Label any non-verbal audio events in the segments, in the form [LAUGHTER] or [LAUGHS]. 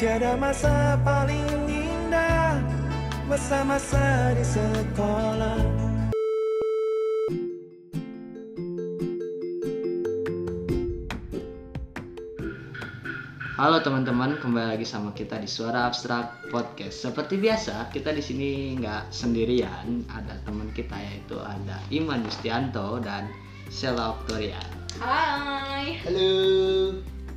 Tiada masa paling indah Masa-masa di sekolah Halo teman-teman, kembali lagi sama kita di Suara Abstrak Podcast. Seperti biasa, kita di sini nggak sendirian, ada teman kita yaitu ada Iman Yustianto dan Sheila Octoria. Hai. Halo.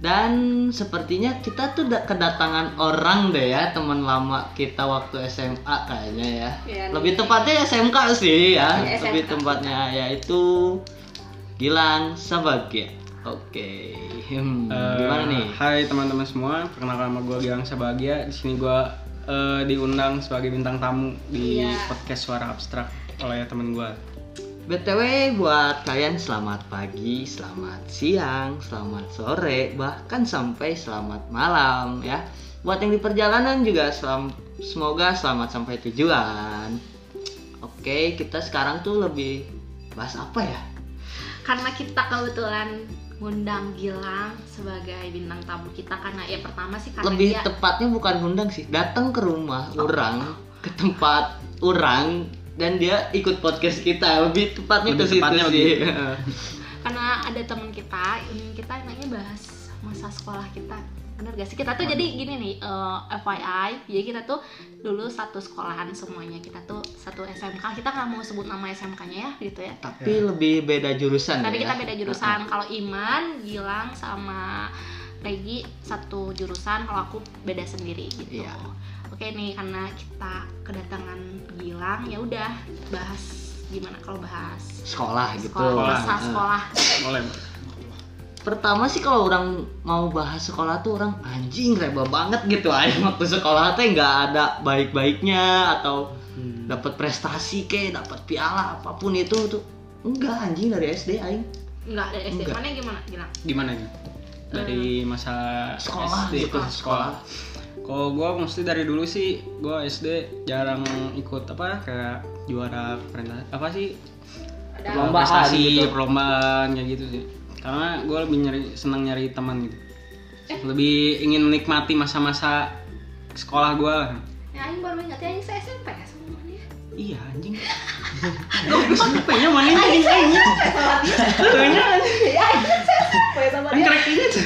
Dan sepertinya kita tuh da- kedatangan orang deh ya, teman lama kita waktu SMA kayaknya ya. Iya nih. Lebih tepatnya SMK sih ya, Iya, lebih SMK. tempatnya yaitu Gilang Sabagia. Oke, Hmm, gimana Eh, nih? Hai teman-teman semua, perkenalkan nama gue Gilang Sebahagia. Di sini gue eh, diundang sebagai bintang tamu di Iya. podcast Suara Abstrak oleh teman gue. BTW buat kalian selamat pagi, selamat siang, selamat sore, bahkan sampai selamat malam ya. Buat yang di perjalanan juga selam- semoga selamat sampai tujuan. Oke, kita sekarang tuh lebih bahas apa ya? Karena kita kebetulan ngundang Gilang sebagai bintang tamu kita karena ya pertama sih karena Lebih dia tepatnya bukan undang sih, datang ke rumah Oh. orang, ke tempat orang dan dia ikut podcast kita. Lebih tepatnya Lebih ke situ tepatnya sih. karena ada teman kita ini kita nanya bahas masa sekolah kita bener gak sih kita tuh jadi gini nih eh, FYI jadi kita tuh dulu satu sekolahan semuanya kita tuh satu SMK kita nggak mau sebut nama SMK-nya ya gitu ya Tapi lebih beda jurusan tapi ya. kita beda jurusan kalau Iman Gilang sama Regi satu jurusan kalau aku beda sendiri gitu Iya. oke nih karena kita kedatangan Gilang ya udah bahas gimana kalau bahas sekolah gitu. sekolah masa Heeh. sekolah [LAUGHS] Boleh. Pertama sih kalau orang mau bahas sekolah tuh orang anjing reba banget gitu [LAUGHS] aja waktu sekolah teh nggak ada baik-baiknya atau dapat prestasi ke, dapat piala apapun itu tuh enggak anjing dari SD aing nggak dari SD Enggak. mana gimana Gilang Gimana nih? Dari masa sekolah SD gitu sekolah. sekolah. Kalau gue mesti dari dulu sih, gue SD jarang ikut apa kayak juara perintah apa sih ada Belum. perlombaan Perlombaan prestasi gitu. perlombaan kayak gitu sih karena gue lebih nyari senang nyari teman gitu lebih ingin menikmati masa-masa sekolah gue ya Aing baru ingat ya Aing se SMP ya semuanya iya anjing Eh. SMP-nya mana ini anjing Kayaknya ya Aing kan se SMP sama kan dia krek ini tuh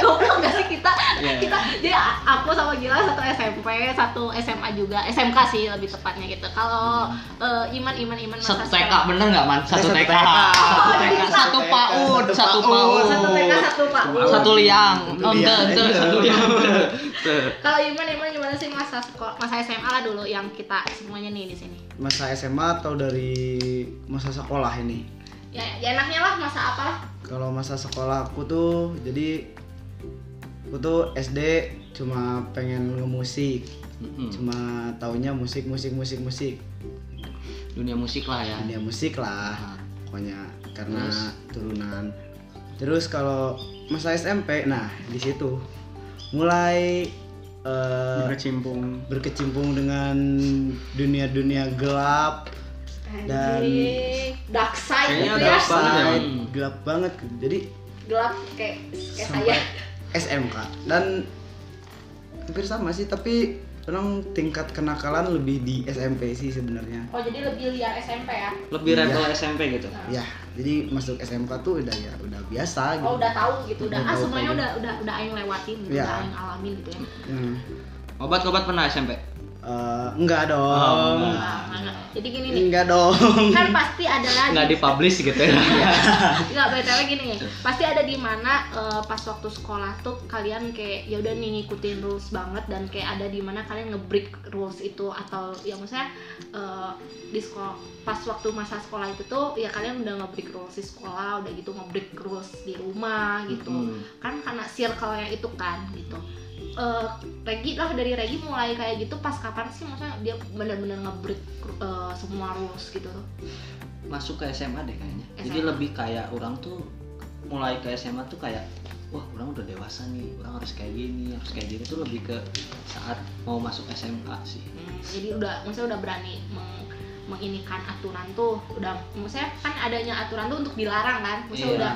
goblok gak sih kita Iya, iya. kita jadi aku sama Gilang satu SMP satu SMA juga SMK sih lebih tepatnya gitu kalau eh, iman iman iman masa Satu TK sekolah- bener nggak man? Satu Satu TK. TK. Satu Oh, TK. bisa. Satu PAUD, satu PAUD. satu TK satu pak Satu liang. Oh, ente, ente, satu liang. kalau iman iman gimana sih masa sekolah masa SMA lah dulu yang kita semuanya nih di sini masa SMA atau dari masa sekolah ini? ya, ya enaknya lah masa apa lah Kalau masa sekolah aku tuh jadi aku tuh SD cuma pengen ngemusik, Mm-mm. cuma taunya musik musik musik musik. Dunia musik lah ya. Dunia musik lah Nah, pokoknya karena Terus? turunan. Terus kalau masa SMP, nah di situ mulai eh, berkecimpung berkecimpung dengan dunia-dunia gelap Dan- Anjing. dark side Kayaknya gitu ya dark gelap banget ya. banget, gelap banget jadi gelap kayak kayak Ya, saya sampai SMK dan hampir sama sih tapi orang tingkat kenakalan lebih di SMP sih sebenarnya oh jadi lebih liar SMP ya Lebih Iya. rebel SMP gitu. ya jadi masuk SMK tuh udah ya udah biasa gitu oh udah tahu gitu Udah udah, ah tahu semuanya kayak udah udah udah aing lewatin gitu, Iya. udah aing alamin gitu ya Hmm. Obat-obat pernah SMP? Eh, enggak dong Oh, enggak. Nah, nah. jadi gini nih enggak dong kan pasti ada lagi Nggak dipublish gitu ya. nggak btw gini ya. Iya. pasti ada di mana eh, pas waktu sekolah tuh kalian kayak ya udah nih ngikutin rules banget dan kayak ada di mana kalian ngebreak rules itu atau ya maksudnya eh, di sekolah pas waktu masa sekolah itu tuh ya kalian udah ngebreak rules di sekolah udah gitu ngebreak rules di rumah gitu Hmm. kan karena circle-nya itu kan gitu Eh Regi lah dari Regi mulai kayak gitu pas kapan sih maksudnya dia benar-benar ngebreak eh, semua rules gitu tuh masuk ke SMA deh kayaknya. Jadi SMA. lebih kayak orang tuh mulai ke SMA tuh kayak wah orang udah dewasa nih, orang harus kayak gini, harus kayak gini tuh lebih ke saat mau masuk SMA sih. Hmm, jadi udah maksudnya udah berani meng- menginikan aturan tuh udah maksudnya kan adanya aturan tuh untuk dilarang kan maksudnya udah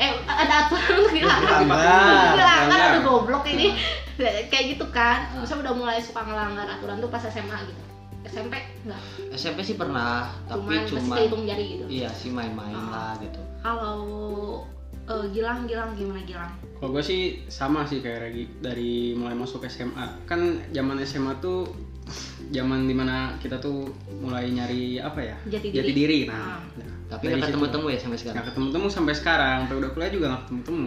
eh ada aturan untuk dilarang Dilanggar. dilarang kan Dilanggar. udah goblok ini [LAUGHS] kayak gitu kan misalnya udah mulai suka ngelanggar aturan tuh pas SMA gitu SMP enggak SMP sih pernah tapi cuman masih cuma kehitung jari gitu iya sih main-main lah gitu kalau eh, Gilang Gilang gimana Gilang Kalau gue sih sama sih kayak Regi dari mulai masuk SMA. Kan zaman SMA tuh zaman dimana kita tuh mulai nyari apa ya? Jati diri. Ah. Nah, tapi nggak ketemu-temu ya sampai sekarang Gak ketemu-temu sampai sekarang. Sampai udah kuliah juga gak ketemu-temu.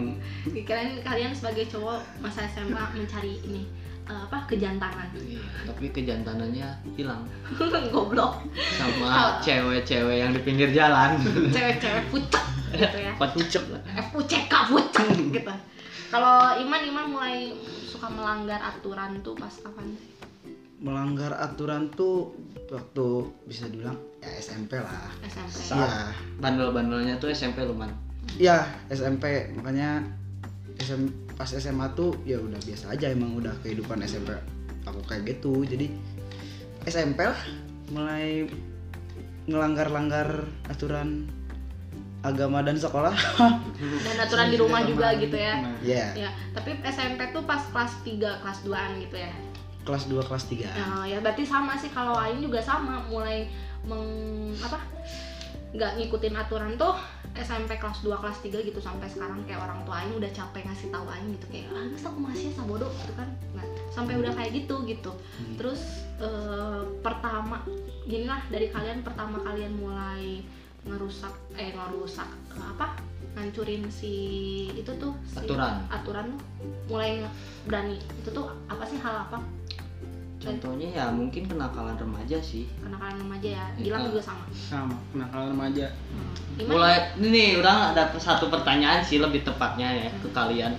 kalian kalian sebagai cowok masa SMA mencari ini eh, apa kejantanan [LAUGHS] Iya, tapi kejantanannya hilang goblok Oh. sama cewek-cewek yang di pinggir jalan [LAUGHS] cewek-cewek pucet gitu ya buat pucuk lah FUCK pucet gitu kalau Iman Iman mulai suka melanggar aturan tuh pas kapan sih? melanggar aturan tuh waktu bisa dibilang ya SMP lah SMP Iya, bandel-bandelnya tuh SMP lumayan iya SMP makanya SM, pas SMA tuh ya udah biasa aja emang udah kehidupan SMP aku kayak gitu jadi SMP lah mulai ngelanggar-langgar aturan agama dan sekolah dan aturan di rumah juga gitu ya Nah, ya ya tapi SMP tuh pas kelas 3 kelas 2an gitu ya kelas 2 kelas 3 Nah, ya berarti sama sih kalau Ain juga sama mulai meng apa nggak ngikutin aturan tuh SMP kelas 2 kelas 3 gitu sampai sekarang kayak orang tua Ain udah capek ngasih tahu Ain gitu kayak ah masa aku masih sama bodoh gitu kan nah, sampai udah kayak gitu gitu terus eh, pertama gini lah dari kalian pertama kalian mulai ngerusak eh ngerusak eh, apa ngancurin si itu tuh si Aturan. aturan tuh mulai nge- berani itu tuh apa sih hal apa contohnya ya mungkin kenakalan remaja sih kenakalan remaja ya Iya. Gilang juga sama sama kenakalan remaja. Iman mulai ini nih orang ada satu pertanyaan sih lebih tepatnya ya Hmm. ke kalian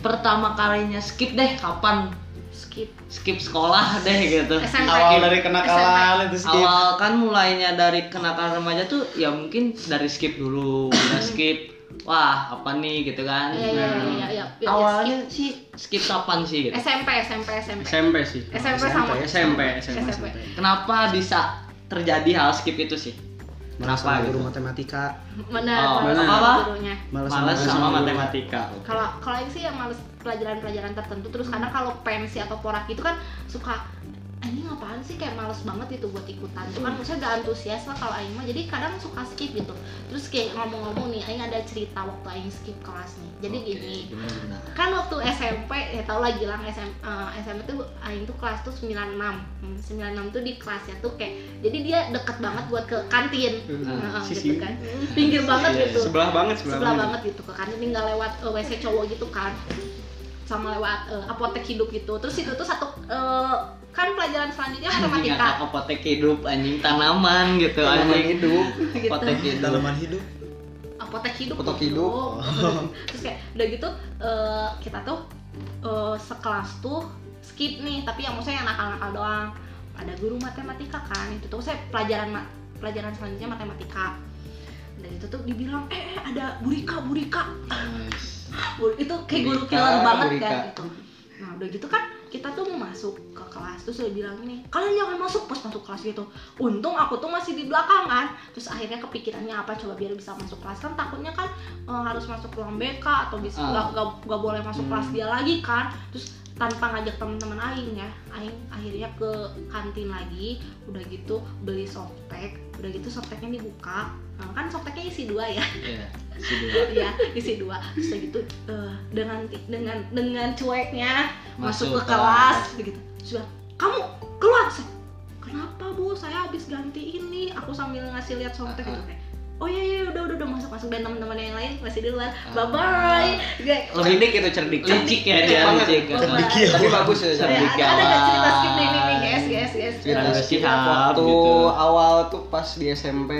pertama kalinya skip deh kapan skip skip sekolah [LAUGHS] deh gitu SMP. awal dari kenakalan itu skip awal kan mulainya dari kenakalan remaja tuh ya mungkin dari skip dulu udah skip wah apa nih gitu kan Hmm. Iya, iya, iya, iya, iya, iya, awalnya sih skip kapan sih gitu SMP SMP SMP SMP sih. SMP sama SMP, SMP. SMP kenapa bisa terjadi hal skip itu sih malas Kenapa sama guru gitu? matematika benar Oh, kalau benar. sama Apa? gurunya malas sama, malas guru sama matematika. matematika kalau kalau yang sih yang males pelajaran-pelajaran tertentu terus karena kalau pensi atau porak itu kan suka "Ah, ini ngapain sih kayak males banget itu buat ikutan tuh Hmm. kan maksudnya gak antusias lah kalau Aing mah jadi kadang suka skip gitu terus kayak ngomong-ngomong nih Aing ada cerita waktu Aing skip kelas nih jadi Oke, gini gimana, gimana? kan waktu SMP ya tau lah Gilang SM, eh, SMP tuh Aing tuh kelas tuh 96 Hmm, 96 tuh di kelasnya tuh kayak jadi dia deket banget buat ke kantin Heeh, gitu Sisi kan pinggir banget Iya, iya. gitu sebelah banget, sebelah, sebelah banget gitu ke kantin tinggal lewat eh, WC cowok gitu kan sama lewat eh, apotek hidup gitu terus itu tuh satu eh, kan pelajaran selanjutnya Anjing matematika atau apotek hidup anjing tanaman gitu Tanaman anjing hidup Gitu. apotek hidup dalaman hidup apotek Ah, hidup Apotek kok, hidup. Bro. terus kayak udah gitu eh, kita tuh eh, sekelas tuh skip nih tapi yang maksudnya yang nakal-nakal doang ada guru matematika kan itu tuh saya pelajaran ma- pelajaran selanjutnya matematika dan itu tuh dibilang eh eh, ada burika burika Bu- itu kayak guru Burika, killer banget burika. kan gitu. nah udah gitu kan kita tuh mau masuk ke kelas terus dia bilang nih kalian jangan masuk pas masuk kelas gitu untung aku tuh masih di belakangan terus akhirnya kepikirannya apa coba biar bisa masuk kelas kan takutnya kan eh, harus masuk ruang BK atau bisa Ah. nggak nggak- nggak boleh masuk kelas dia lagi kan terus tanpa ngajak teman-teman Aing ya Aing akhirnya ke kantin lagi udah gitu beli softtek udah gitu softteknya dibuka Nah, kan softteknya isi dua ya Iya, si dua. ya isi dua terus udah gitu eh, dengan dengan dengan cueknya masuk, Masuk ke kelas begitu sudah kamu keluar Saya, kenapa bu saya habis ganti ini aku sambil ngasih lihat Ah, softtek gitu kayak oh iya iya udah udah udah masuk masuk dan teman-teman yang lain masih di luar Ah. bye bye kayak lebih itu cerdik. licik ya dia banget. licik Lebih gitu. Gila. Tapi bagus ya. ada cerdik. Cerdik Iya, ada nggak cerita kawan. skip nih nih nih guys guys guys Cerita Harus skip siap, waktu gitu. awal tuh pas di SMP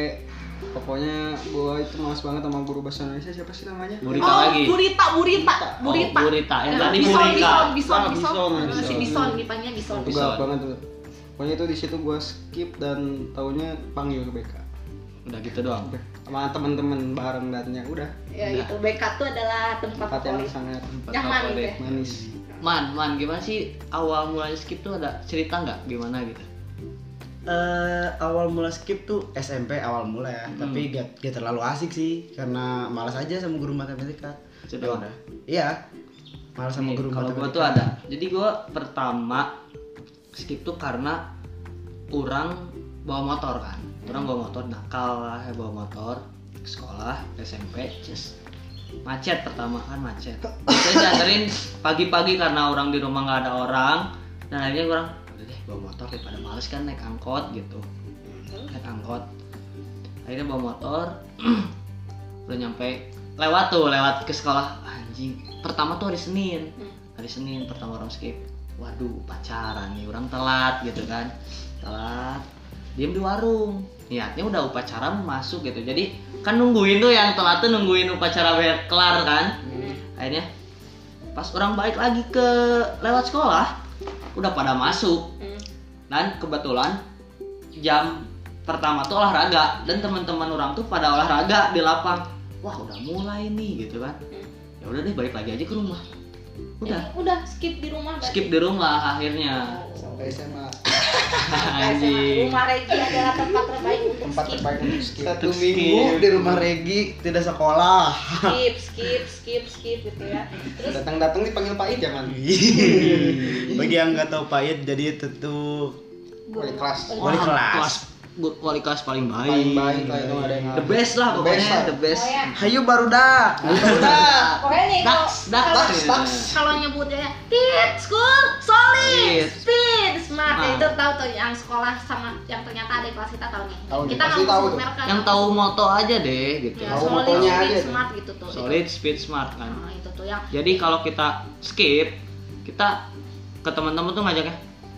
pokoknya gua itu males banget sama guru bahasa Indonesia siapa sih namanya? Burika oh lagi. burita burita Oh, burita Iya, Burita. Yang Nah, tadi bison, Burika. bison bison Ah, bison Eh, bison, si bison. bison dipanggilnya bison Itu galak banget tuh. Pokoknya itu di situ gua skip dan taunya panggil ke BK. Udah gitu doang. Udah, Sama teman-teman bareng dan ya udah ya itu BK tuh adalah tempat tempat yang favorit. sangat Empat Nyaman gitu favorit. ya. manis. Man, man, gimana sih awal mulai skip tuh ada cerita nggak gimana gitu? Eh, awal mula skip tuh SMP awal mula ya, Hmm. tapi gak, gak terlalu asik sih karena malas aja sama guru matematika. Itu doang. Ya udah. Iya. Parah sama Nih, guru kalau gua matematika. tuh ada jadi gua pertama skip tuh karena orang bawa motor kan orang bawa motor nakal lah ya bawa motor ke sekolah ke SMP just macet pertama kan macet saya dianterin pagi-pagi karena orang di rumah nggak ada orang dan akhirnya orang udah deh bawa motor daripada males kan naik angkot gitu naik angkot akhirnya bawa motor [CLEARS THROAT] udah nyampe lewat tuh lewat ke sekolah anjing pertama tuh hari Senin hari Senin pertama orang skip waduh pacaran nih orang telat gitu kan telat diem di warung niatnya udah upacara mau masuk gitu jadi kan nungguin tuh yang telat tuh nungguin upacara biar kelar kan akhirnya pas orang balik lagi ke lewat sekolah udah pada masuk Hmm. dan kebetulan jam pertama tuh olahraga dan teman-teman orang tuh pada olahraga di lapang wah udah mulai nih gitu kan Hmm. ya udah deh balik lagi aja ke rumah udah Jadi udah skip di Ya. rumah berarti. skip di rumah [LAUGHS] akhirnya Oh. sampai SMA anjing Rumah Regi adalah tempat terbaik untuk tempat skip. terbaik untuk skip. Satu Untuk minggu skip. Oh, di rumah Regi tidak sekolah. [LAUGHS] skip skip skip skip gitu ya terus Datang-datang dipanggil Pak Id ya man. Bagi yang nggak tahu pahit jadi tentu Wali kelas. Wali Wah, kelas. bu- wali kelas paling baik Paling baik lah itu nggak ada yang the best lah The pokoknya best lah. the best Pokoknya, Hayu barudak. Barudak. Nah, pokoknya nih kalau Dax, Dax, kalau- Dax. kalau nyebutnya ya, tit school solid Yes. speed smart Smart. itu tahu tuh yang sekolah sama yang ternyata ada di kelas kita tahu nih Tahu nih, kita pasti nggak tahu mau tuh. merek yang tahu moto aja deh gitu ya, Tahu solid motonya speed aja tuh. smart gitu tuh solid speed smart kan Nah, itu tuh yang Jadi kalau kita skip, kita ke teman-teman tuh ngajaknya,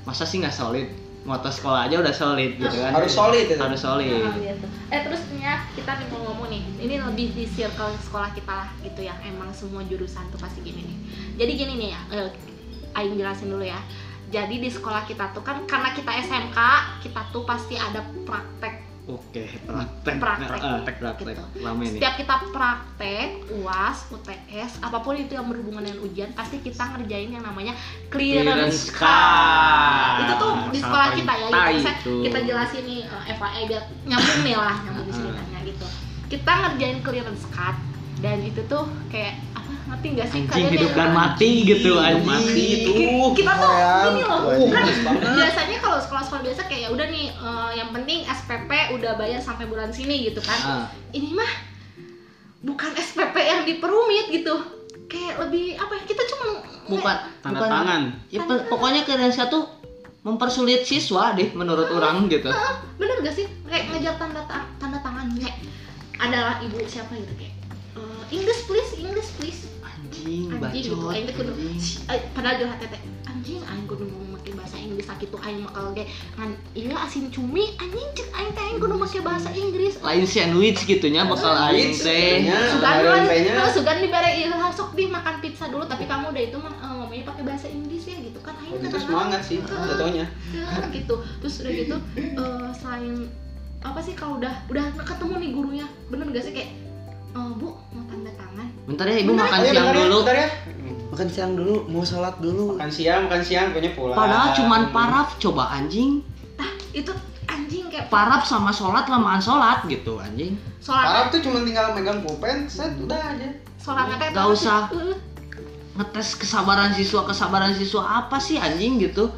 masa sih nggak solid? Motor sekolah aja udah solid gitu kan? Harus solid itu. Harus Nah, solid. gitu. Eh terusnya kita nih mau ngomong nih, ini lebih di circle sekolah kita lah gitu ya. Emang semua jurusan tuh pasti gini nih. Jadi gini nih ya, eh, Aing jelasin dulu ya. Jadi di sekolah kita tuh kan karena kita SMK, kita tuh pasti ada praktek. Oke, praktek, Praktek. praktek, praktek, Gitu. lama ini. Setiap kita praktek, UAS, UTS, apapun itu yang berhubungan dengan ujian, pasti kita ngerjain yang namanya Clearance clearance card. card. Itu tuh di Sama sekolah kita ya, tai gitu. Misalnya itu. kita jelasin nih eh, FYI biar nyambung nih lah, nyambung Hmm. di ceritanya gitu. Kita ngerjain clearance card dan itu tuh kayak apa ngerti nggak sih Anjing yang- hidup dan mati gitu anjing. mati itu. Ki- kita tuh keren. gini loh Wajib kan banget. biasanya kalau sekolah-sekolah biasa kayak ya udah nih eh, yang penting SPP udah bayar sampai bulan sini gitu kan Ah, ini mah bukan SPP yang diperumit gitu kayak lebih apa ya, kita cuma bukan, Tanda bukan- tangan. Ya, pe- pokoknya kalian satu mempersulit siswa deh menurut orang gitu. Heeh, bener gak sih kayak ngejar tanda ta- tanda tangan kayak adalah ibu siapa gitu kayak "Eh, English please English please Anjing, anjing gitu bacot. aing teh kudu anjing. "Shh, ai," padahal jual hati teh anjing aing kudu ngomong make bahasa Inggris sakit tuh aing bakal ge ngan iya asin cumi anjing cek aing teh aing kudu make bahasa Inggris Lain sandwich gitunya bakal aing teh. Sugan Ada duluan, rempeynya. kalau Sugan dibere iya sok di makan pizza dulu tapi kamu udah itu mah eh, ngomongnya pakai bahasa Inggris ya gitu kan aing Waktu itu tenang Oh, semangat sih Heeh. jatuhnya. Ya, gitu terus udah gitu eh, selain apa sih kalau udah udah ketemu nih gurunya bener gak sih kayak eh, bu mau tanda tangan Bentar ya ibu Bentar, makan Ayo, siang bentar ya, dulu. bentar ya. makan siang dulu, mau sholat dulu. Makan siang, makan siang, pokoknya pulang. Padahal cuman paraf coba anjing. tah itu anjing kayak Paraf sama sholat lamaan sholat gitu anjing. sholat Parah tuh cuma tinggal megang pulpen, set udah aja. sholat teh Nggak tah, usah. eh, Ngetes kesabaran siswa kesabaran siswa apa sih anjing gitu.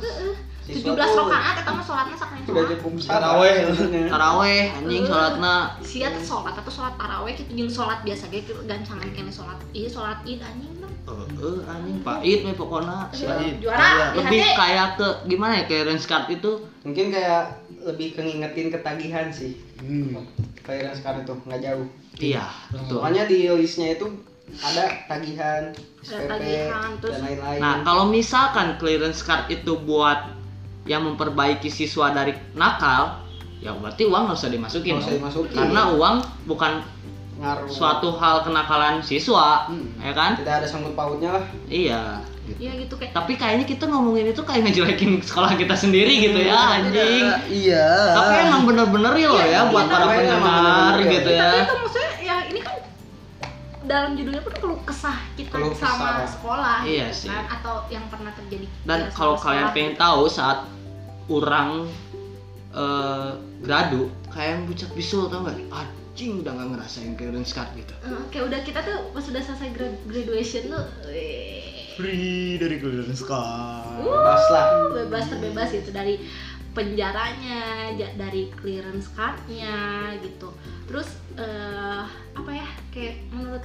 Siswa tujuh belas tuh rakaat atau mah sholatnya sakit Udah aja kumsar. Taraweh. Taraweh anjing sholatna sia teh sholat atau sholat taraweh gitu jeung sholat biasa ge kieu gancangan kene sholat iya sholat id anjing dong eh eh, anjing pait we pokona. juara di Iya, Lebih hati kayak ke gimana ya kayak range card itu Mungkin kayak lebih kengingetin ketagihan sih. Kayak sekarang tuh nggak jauh. iya betul. Pokoknya di listnya itu ada tagihan, SPP, tagihan, terus- dan lain-lain. Nah, kalau misalkan clearance card itu buat yang memperbaiki siswa dari nakal, ya berarti uang nggak usah dimasukin. Nggak usah dong. dimasukin. Karena uang bukan ngaruh. suatu hal kenakalan siswa, Hmm. ya kan? Tidak ada sangkut pautnya lah. Iya. iya gitu kayak Tapi kayaknya kita ngomongin itu kayak ngejelekin sekolah kita sendiri gitu ya, anjing. Iya. Tapi emang bener-bener ya loh ya Iya, buat iya, para tapi emang pendengar bener-bener gitu ya. tapi itu maksudnya ya ini kan dalam judulnya pun keluh kesah kita Keluh sama kesah. sekolah Iya gitu sih. kan, atau yang pernah terjadi Dan ya, sama kalau kalian sekolah. pengen tahu saat orang eh, gradu kayak yang bucak bisul tau gak? Anjing udah gak ngerasain clearance card gitu. Eh, kayak udah kita tuh pas udah selesai gra- graduation tuh eh, free dari kelulusan sekolah Pas lah. bebas terbebas gitu dari penjaranya ja- dari clearance cardnya gitu terus eh, apa ya kayak menurut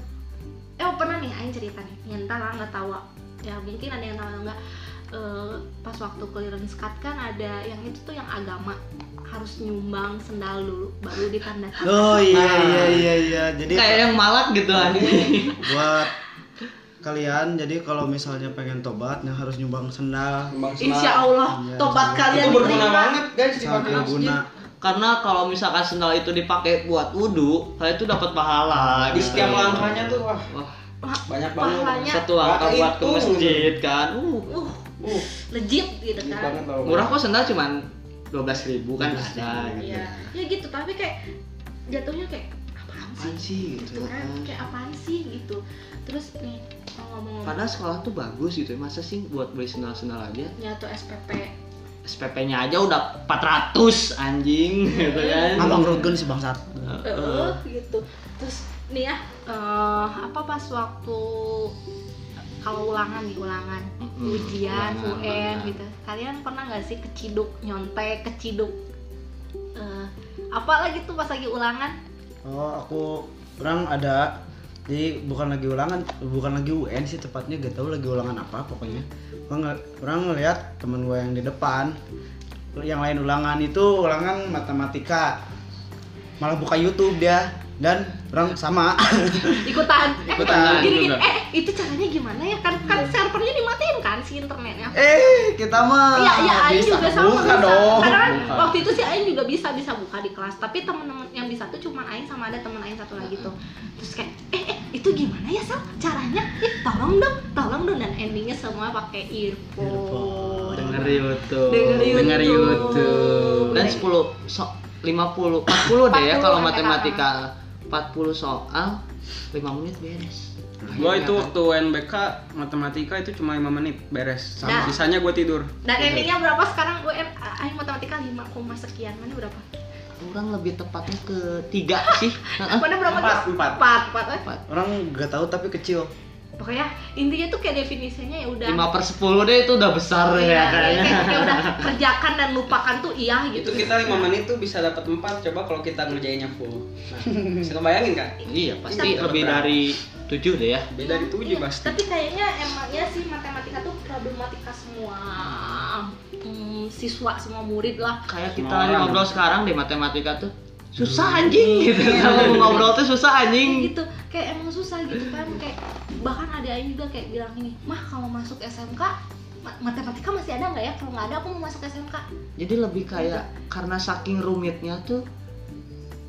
eh oh, pernah nih Aing cerita nih yang entah lah nggak tahu ya mungkin ada yang tahu atau nggak Eh, pas waktu clearance card kan ada yang itu tuh yang agama harus nyumbang sendal dulu baru ditanda tangan oh iya iya iya iya jadi Kayak yang malak gitu Iya. anjing. buat kalian jadi kalau misalnya pengen tobat yang harus nyumbang sendal Insya Allah Iya, tobat insya kalian Allah. Itu berguna diterima. guys sangat berguna Karena kalau misalkan sendal itu dipakai buat wudhu, saya itu dapat pahala. di gitu. setiap langkahnya tuh wah Wah, Wah, Banyak banget. pahalanya, satu langkah Pakai buat ke itu. Iya. masjid kan. Uh, uh, uh legit gitu ini kan banget loh murah kok sendal cuman 12.000 ribu kan ada gitu. Iya. Ya gitu, tapi kayak jatuhnya kayak Apaan apaan sih? sih gitu. Gitu kan kayak apaan sih gitu. Terus nih kalau ngomong-ngomong Padahal sekolah tuh bagus gitu ya. Masa sih buat beli sendal-sendal aja? nyatu SPP SPP-nya aja udah 400 anjing [LAUGHS] gitu kan. Abang Rogen sih bangsat. Heeh. eh gitu. Terus nih ya eh, apa pas waktu kalau ulangan nih ulangan Mm-mm, ujian ulangan, UN ulangan. gitu kalian pernah nggak sih keciduk nyontek keciduk Eh, apa lagi tuh pas lagi ulangan oh aku orang ada jadi bukan lagi ulangan bukan lagi UN sih tepatnya gak tahu lagi ulangan apa pokoknya orang, ngel- orang ngeliat temen gue yang di depan yang lain ulangan itu ulangan matematika malah buka YouTube dia dan orang sama ikutan eh, Ikutan, gini, gini. juga. eh itu caranya gimana ya kan Iya. kan servernya dimatiin kan si internetnya eh kita mah Iya, iya, Ah, Ain bisa juga sama buka bisa. dong Karena kan Buka. waktu itu si Ain juga bisa bisa buka di kelas, tapi temen-temen yang bisa tuh cuma Ain sama ada temen Ain satu lagi tuh. Terus kayak, eh, eh itu gimana ya Sal? Caranya? Eh, tolong dong, tolong dong dan endingnya semua pakai earphone. Denger YouTube. Denger YouTube. Denger YouTube. Dan 10 so, 50 40 deh ya 40 kalau MTK. matematika. 40 soal 5 menit beres. gua Iya. itu waktu UNBK matematika itu cuma 5 menit beres Nah. sama sisanya gua tidur Dan endingnya berapa sekarang? UN Ain matematika 5, koma sekian. Mana berapa? kan, kurang lebih tepatnya ke [LAUGHS] 3 sih. Heeh. Mana berapa? Empat, tuh? empat. Empat, empat, eh. Empat. orang gak tahu tapi kecil Pokoknya intinya tuh kayak definisinya ya udah 5 per 10 deh itu udah besar ya Iya, iya, kayaknya. kayak, kayak udah kerjakan dan lupakan tuh iya gitu. itu kita 5 menit tuh bisa dapat 4 coba kalau kita ngerjainnya full nah bisa kebayangin kan Iya, pasti Tapi- lebih dari 7 deh ya. beda dari 7 Iya, pasti Tapi kayaknya emangnya sih matematika tuh problematika semua hmm, siswa semua murid lah. Kayak kita Semua lagi orang. ngobrol sekarang deh matematika tuh. Susah anjing gitu. Kalau mau ngobrol tuh susah anjing. Kayak Iya. gitu kayak emang susah gitu kan kayak bahkan ada yang juga kayak bilang ini mah kalau masuk SMK ma- matematika masih ada nggak ya kalau nggak ada aku mau masuk SMK Jadi lebih kayak karena saking rumitnya tuh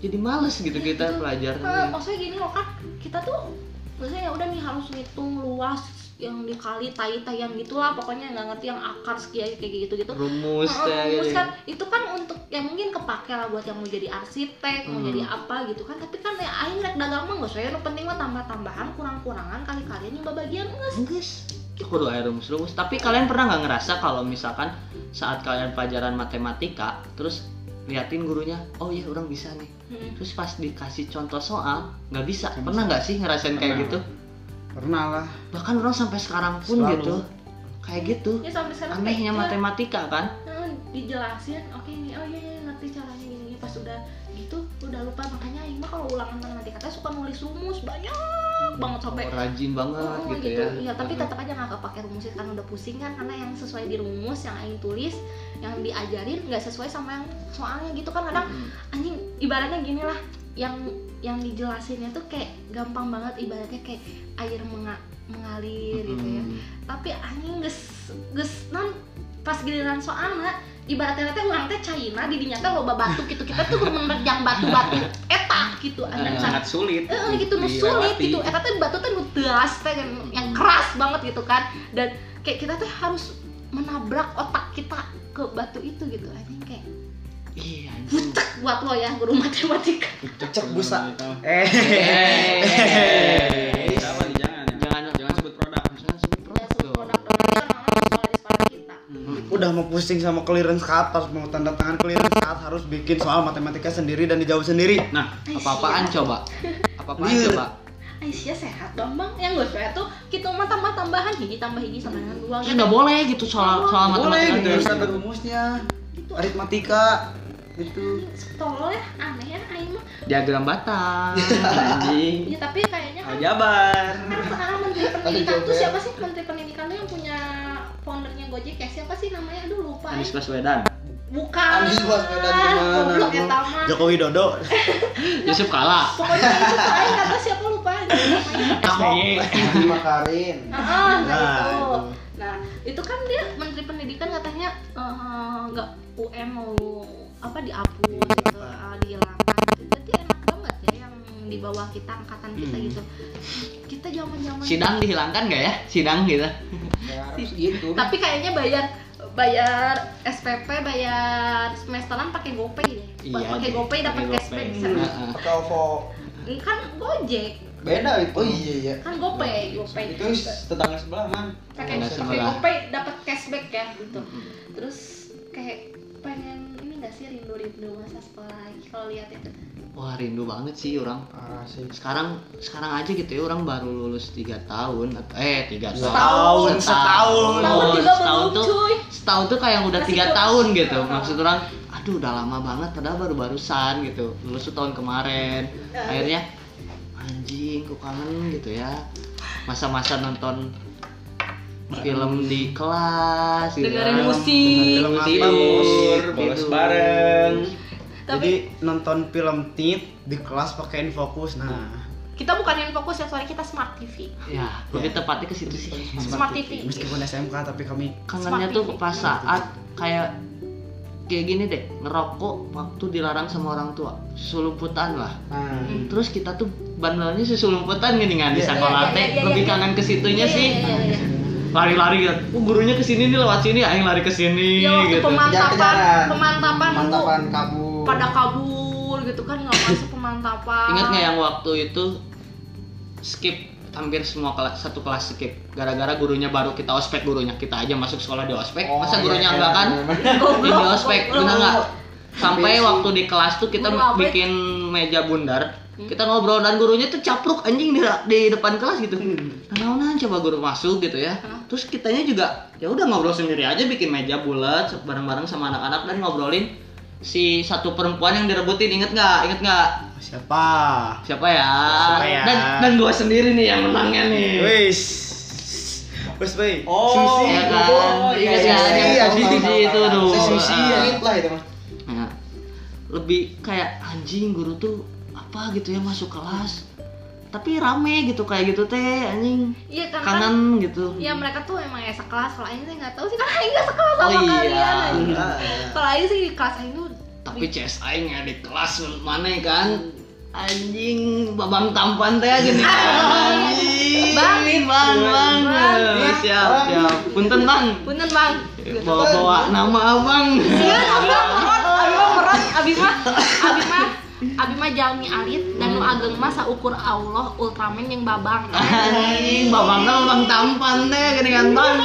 jadi males gitu kita Iya. Eh, pelajaran. maksudnya gini loh kan kita tuh maksudnya ya udah nih harus ngitung luas yang dikali tai-taian gitulah pokoknya nggak ngerti yang akar sekian kayak gitu gitu Rumus Heeh, kayak rumus gitu. kan itu kan untuk yang mungkin kepake lah buat yang mau jadi arsitek mau Hmm. jadi apa gitu kan tapi kan ya aing rek dagang mah nggak saya penting mah tambah tambahan kurang kurangan kali kalian yang bagian nges Enggeus. Ya, Kudu aya rumus-rumus. Tapi kalian pernah nggak ngerasa kalau misalkan saat kalian pelajaran matematika terus liatin gurunya, "Oh iya, orang bisa nih." hmm. Terus pas dikasih contoh soal, nggak bisa. Pernah nggak sih ngerasain kayak Pernah. gitu? pernah lah Bahkan orang sampai sekarang pun Selalu. gitu. Kayak gitu. ya sampai sekarang Anehnya kayak, matematika kan? "Eh, dijelasin oke ini oh iya iya ngerti caranya gini gini pas udah gitu udah lupa makanya aing mah kalau ulangan matematika teh suka nulis rumus banyak banget sampai Oh, rajin banget Oh, gitu, ya. Iya, tapi tetap aja nggak kepake rumusnya kan udah pusing kan karena yang sesuai di rumus yang aing tulis yang diajarin nggak sesuai sama yang soalnya gitu kan kadang Mm. anjing ibaratnya gini lah yang yang dijelasinnya tuh kayak gampang banget ibaratnya kayak air menga- mengalir gitu ya tapi anjing geus geus non pas giliran soalnya ibaratnya teh urang teh China di dinya teh loba batu gitu kita tuh menerjang batu-batu eta gitu anjing Nah, Sa- sangat sulit Heeh gitu nu dilewati. sulit gitu. Eta teh batu teh nu teas teh kan, yang keras banget gitu kan. Dan kayak kita teh harus menabrak otak kita ke batu itu gitu anjing kayak Iya. anjing. butek buat lo ya guru matematika. cecek busa Eh, jangan, jangan, jangan, Jangan- jangan sebut produk. Jangan sebut Ya produk. produk-produk kan orang sekolah di sekolah kita. [LAUGHS] Hmm. udah mau pusing sama clearance card pas mau tanda tangan clearance card harus bikin soal matematika sendiri dan dijawab sendiri Nah, Eh, Apa-apaan siap. coba? Apa-apaan Liur. coba? Aisyah sehat dong bang yang gue sehat tuh kita mah tambah tambahan hiji tambah hiji sama dengan dua Terus nggak boleh gitu soal soal boleh matematika gitu gitu. kata rumusnya itu aritmatika gitu tolol ya aneh ya aing mah Diagram batang. anjing ya tapi kayaknya kan aljabar kan sekarang menteri pendidikan tuh siapa sih menteri pendidikan tuh yang punya foundernya Gojek ya siapa sih namanya aduh lupa Anies ya. Baswedan bukan Anies Baswedan gimana, goblok ya, Bang? eta mah. Jokowi Dodo Yusuf Kala pokoknya itu lain kata siapa lupa aja namanya Nah, SBY. Nadiem Makarin Ah, nah, Nah, itu. itu. Nah, itu kan dia Menteri Pendidikan katanya eh, nggak UM mau apa dihapus gitu, eh, dihilangkan. Gitu. Jadi enak banget ya yang di bawah kita angkatan kita Hmm. gitu. Kita zaman-zaman Sidang dihilangkan nggak ya? Sidang gitu. ya harus gitu Tapi kayaknya bayar bayar SPP, bayar semesteran pakai GoPay deh. Iya, pakai deh. GoPay dapat Pakai cashback GoPay. bisa. Heeh. pakai OVO Kan Gojek, beda itu oh iya iya kan GoPay, GoPay. itu tetangga sebelah man pakai Nggak pakai sebelah. GoPay dapat cashback ya gitu terus kayak pengen ini nggak sih rindu-rindu masa sekolah lagi kalau lihat itu Wah rindu banget sih orang. ah sih Sekarang sekarang aja gitu ya orang baru lulus 3 tahun atau- eh 3 Setahun. tahun. setahun. tahun juga setahun belum Oh, tuh cuy setahun tuh kayak udah Masih tiga kurang. tahun gitu Heeh. maksud orang aduh udah lama banget padahal baru barusan gitu lulus tuh tahun kemarin akhirnya anjing ku kangen gitu ya masa-masa nonton film di kelas gitu dengerin kan. musik Film Tidur, bagus. bolos tidur. bareng tapi Jadi nonton film tit di kelas pakein fokus. Nah, kita bukan yang fokus ya sorry kita smart TV ya lebih tepatnya ke situ sih Smart TV. Meskipun SMK tapi kami kangennya Smart tuh TV. pas saat kayak kayak gini deh ngerokok waktu dilarang sama orang tua sulumputan lah nah terus kita tuh bandelnya sesulumputan gini kan di Iya, sekolah iya, teh iya, iya, lebih iya. kangen ke situnya Iya, sih iya, iya, iya. lari-lari gitu oh, gurunya ke sini nih lewat sini aing lari ke sini ya waktu gitu pemantapan Kejar-kejaran. pemantapan tuh mantapan kabur pada kabur gitu kan nggak masuk pemantapan ingat nggak ya? yang waktu itu skip hampir semua kelas satu kelas skip gara-gara gurunya baru kita ospek gurunya kita aja masuk sekolah di ospek Oh, Eh, masa iya, gurunya iya, enggak kan bener-bener. di Goblok, ospek goblok. benar nggak sampai Habis. waktu di kelas tuh kita Guru apa? bikin meja bundar kita ngobrol dan gurunya tuh capruk anjing di, di depan kelas gitu nah coba guru masuk gitu ya Hah? terus kitanya juga ya udah ngobrol sendiri aja bikin meja bulat bareng-bareng sama anak-anak dan ngobrolin si satu perempuan yang direbutin inget nggak inget nggak siapa? siapa ya? Siapa ya? dan dan gua sendiri nih yang menangnya nih Wis. Wis, woi. Oh, Susi, ya kan? oh, Iya, iya, iya, iya, tahu, Susi, Susi tahu, itu tahu. dulu. Susi, Ah. ya, ingat lah itu mah. Nah, lebih kayak anjing guru tuh apa gitu ya masuk kelas tapi rame gitu kayak gitu teh anjing iya kan, kan kangen gitu ya mereka tuh emang ya sekelas kalau Aing sih nggak tahu sih karena Aing nggak sekelas sama Oh, iya. kalian anjing. Iya. kalau Aing sih di kelas Aing tuh tapi CS aing ada di kelas mana kan anjing babang tampan teh gini anjing [LAUGHS] Bang. bang bang, Bang, Eh, bang. siap siap punten bang punten bang bawa bawa nama abang iya abang merot abang merot abis mah abis mah abis mah jalmi alit dan nu ageng mah saukur Allah ultraman yang babang anjing babang teh babang tampan teh gini kan bang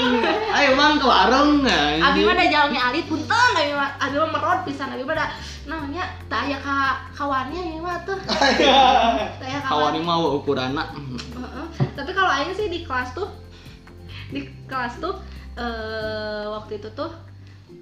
ayo bang ke warung anjing. Abi mah da jalmi alit punten abi mah abi mah merot pisan abi mah da namanya tak aya ka kawannya ya mah tuh tak aya kawan kawan mau ukuran anak Heeh. tapi kalau Aing sih di kelas tuh di kelas tuh eh, waktu itu tuh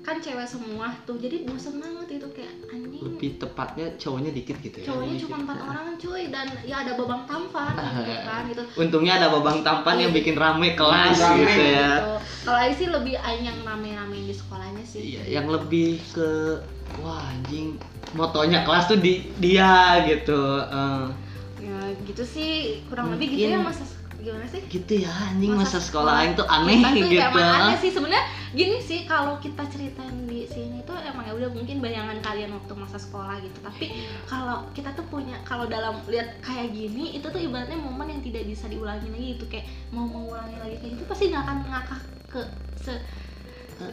kan cewek semua tuh jadi bosen banget itu kayak anjing lebih tepatnya cowoknya dikit gitu ya cowoknya cuma empat orang cuy dan ya ada babang [LAUGHS] tampan gitu kan gitu untungnya ada babang tampan yang bikin rame kelas Rame. gitu ya Gitu. kalau Aing sih lebih Aing yang rame-ramein di sekolahnya sih Iya, yang lebih ke wah anjing motonya kelas tuh di dia gitu. Eh, ya gitu sih kurang lebih gitu Mungkin- ya masa gimana sih gitu ya anjing masa, sekolah aing tuh kita aneh tuh gitu. emang aneh sih sebenarnya gini sih kalau kita ceritain di sini tuh emang ya udah mungkin bayangan kalian waktu masa sekolah gitu tapi Iya. kalau kita tuh punya kalau dalam lihat kayak gini itu tuh ibaratnya momen yang tidak bisa diulangi lagi gitu kayak mau mengulangi lagi kayak gitu pasti nggak akan ngakak ke se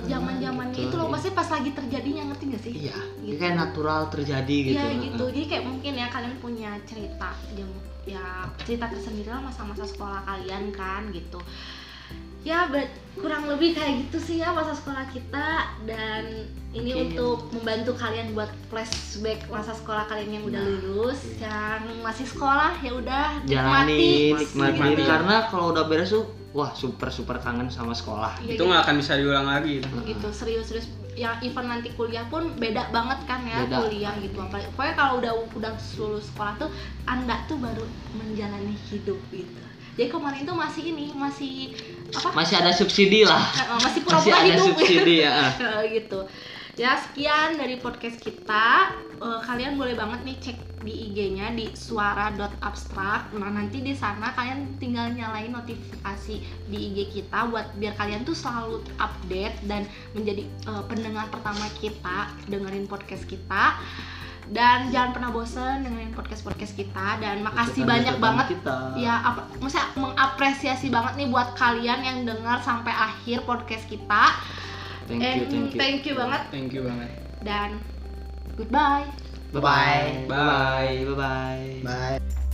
zaman zamannya gitu. itu loh pasti pas lagi terjadinya ngerti gak sih Iya, Gitu. kayak natural terjadi gitu. Iya gitu. Jadi kayak mungkin ya kalian punya cerita jam ya cerita tersendiri lah masa-masa sekolah kalian kan gitu. ya ber- kurang lebih kayak gitu sih ya masa sekolah kita dan ini Oke. untuk membantu kalian buat flashback masa sekolah kalian yang udah Iya. lulus yang masih sekolah ya udah jalani nikmati. Iya, gitu. nikmatin Nikmati. karena kalau udah beres tuh wah super super kangen sama sekolah Ya itu nggak akan bisa diulang lagi gitu. Hmm. gitu serius-serius yang even nanti kuliah pun beda banget kan ya Beda. kuliah gitu Apalagi- pokoknya kalau udah udah lulus sekolah tuh anda tuh baru menjalani hidup gitu jadi kemarin tuh masih ini masih apa masih ada subsidi lah eh, masih masih pura-pura ada hidup subsidi ya Eh, [LAUGHS] gitu ya sekian dari podcast kita Eh, kalian boleh banget nih cek di IG-nya di suara.abstrak nah nanti di sana kalian tinggal nyalain notifikasi di IG kita buat biar kalian tuh selalu update dan menjadi eh, pendengar pertama kita dengerin podcast kita dan jangan pernah bosen dengerin podcast podcast kita dan makasih banyak banget kita Iya. ya apa maksudnya mengapresiasi banget nih buat kalian yang dengar sampai akhir podcast kita thank you And thank you thank you banget Thank you banget. dan goodbye. bye bye Bye. bye bye Bye.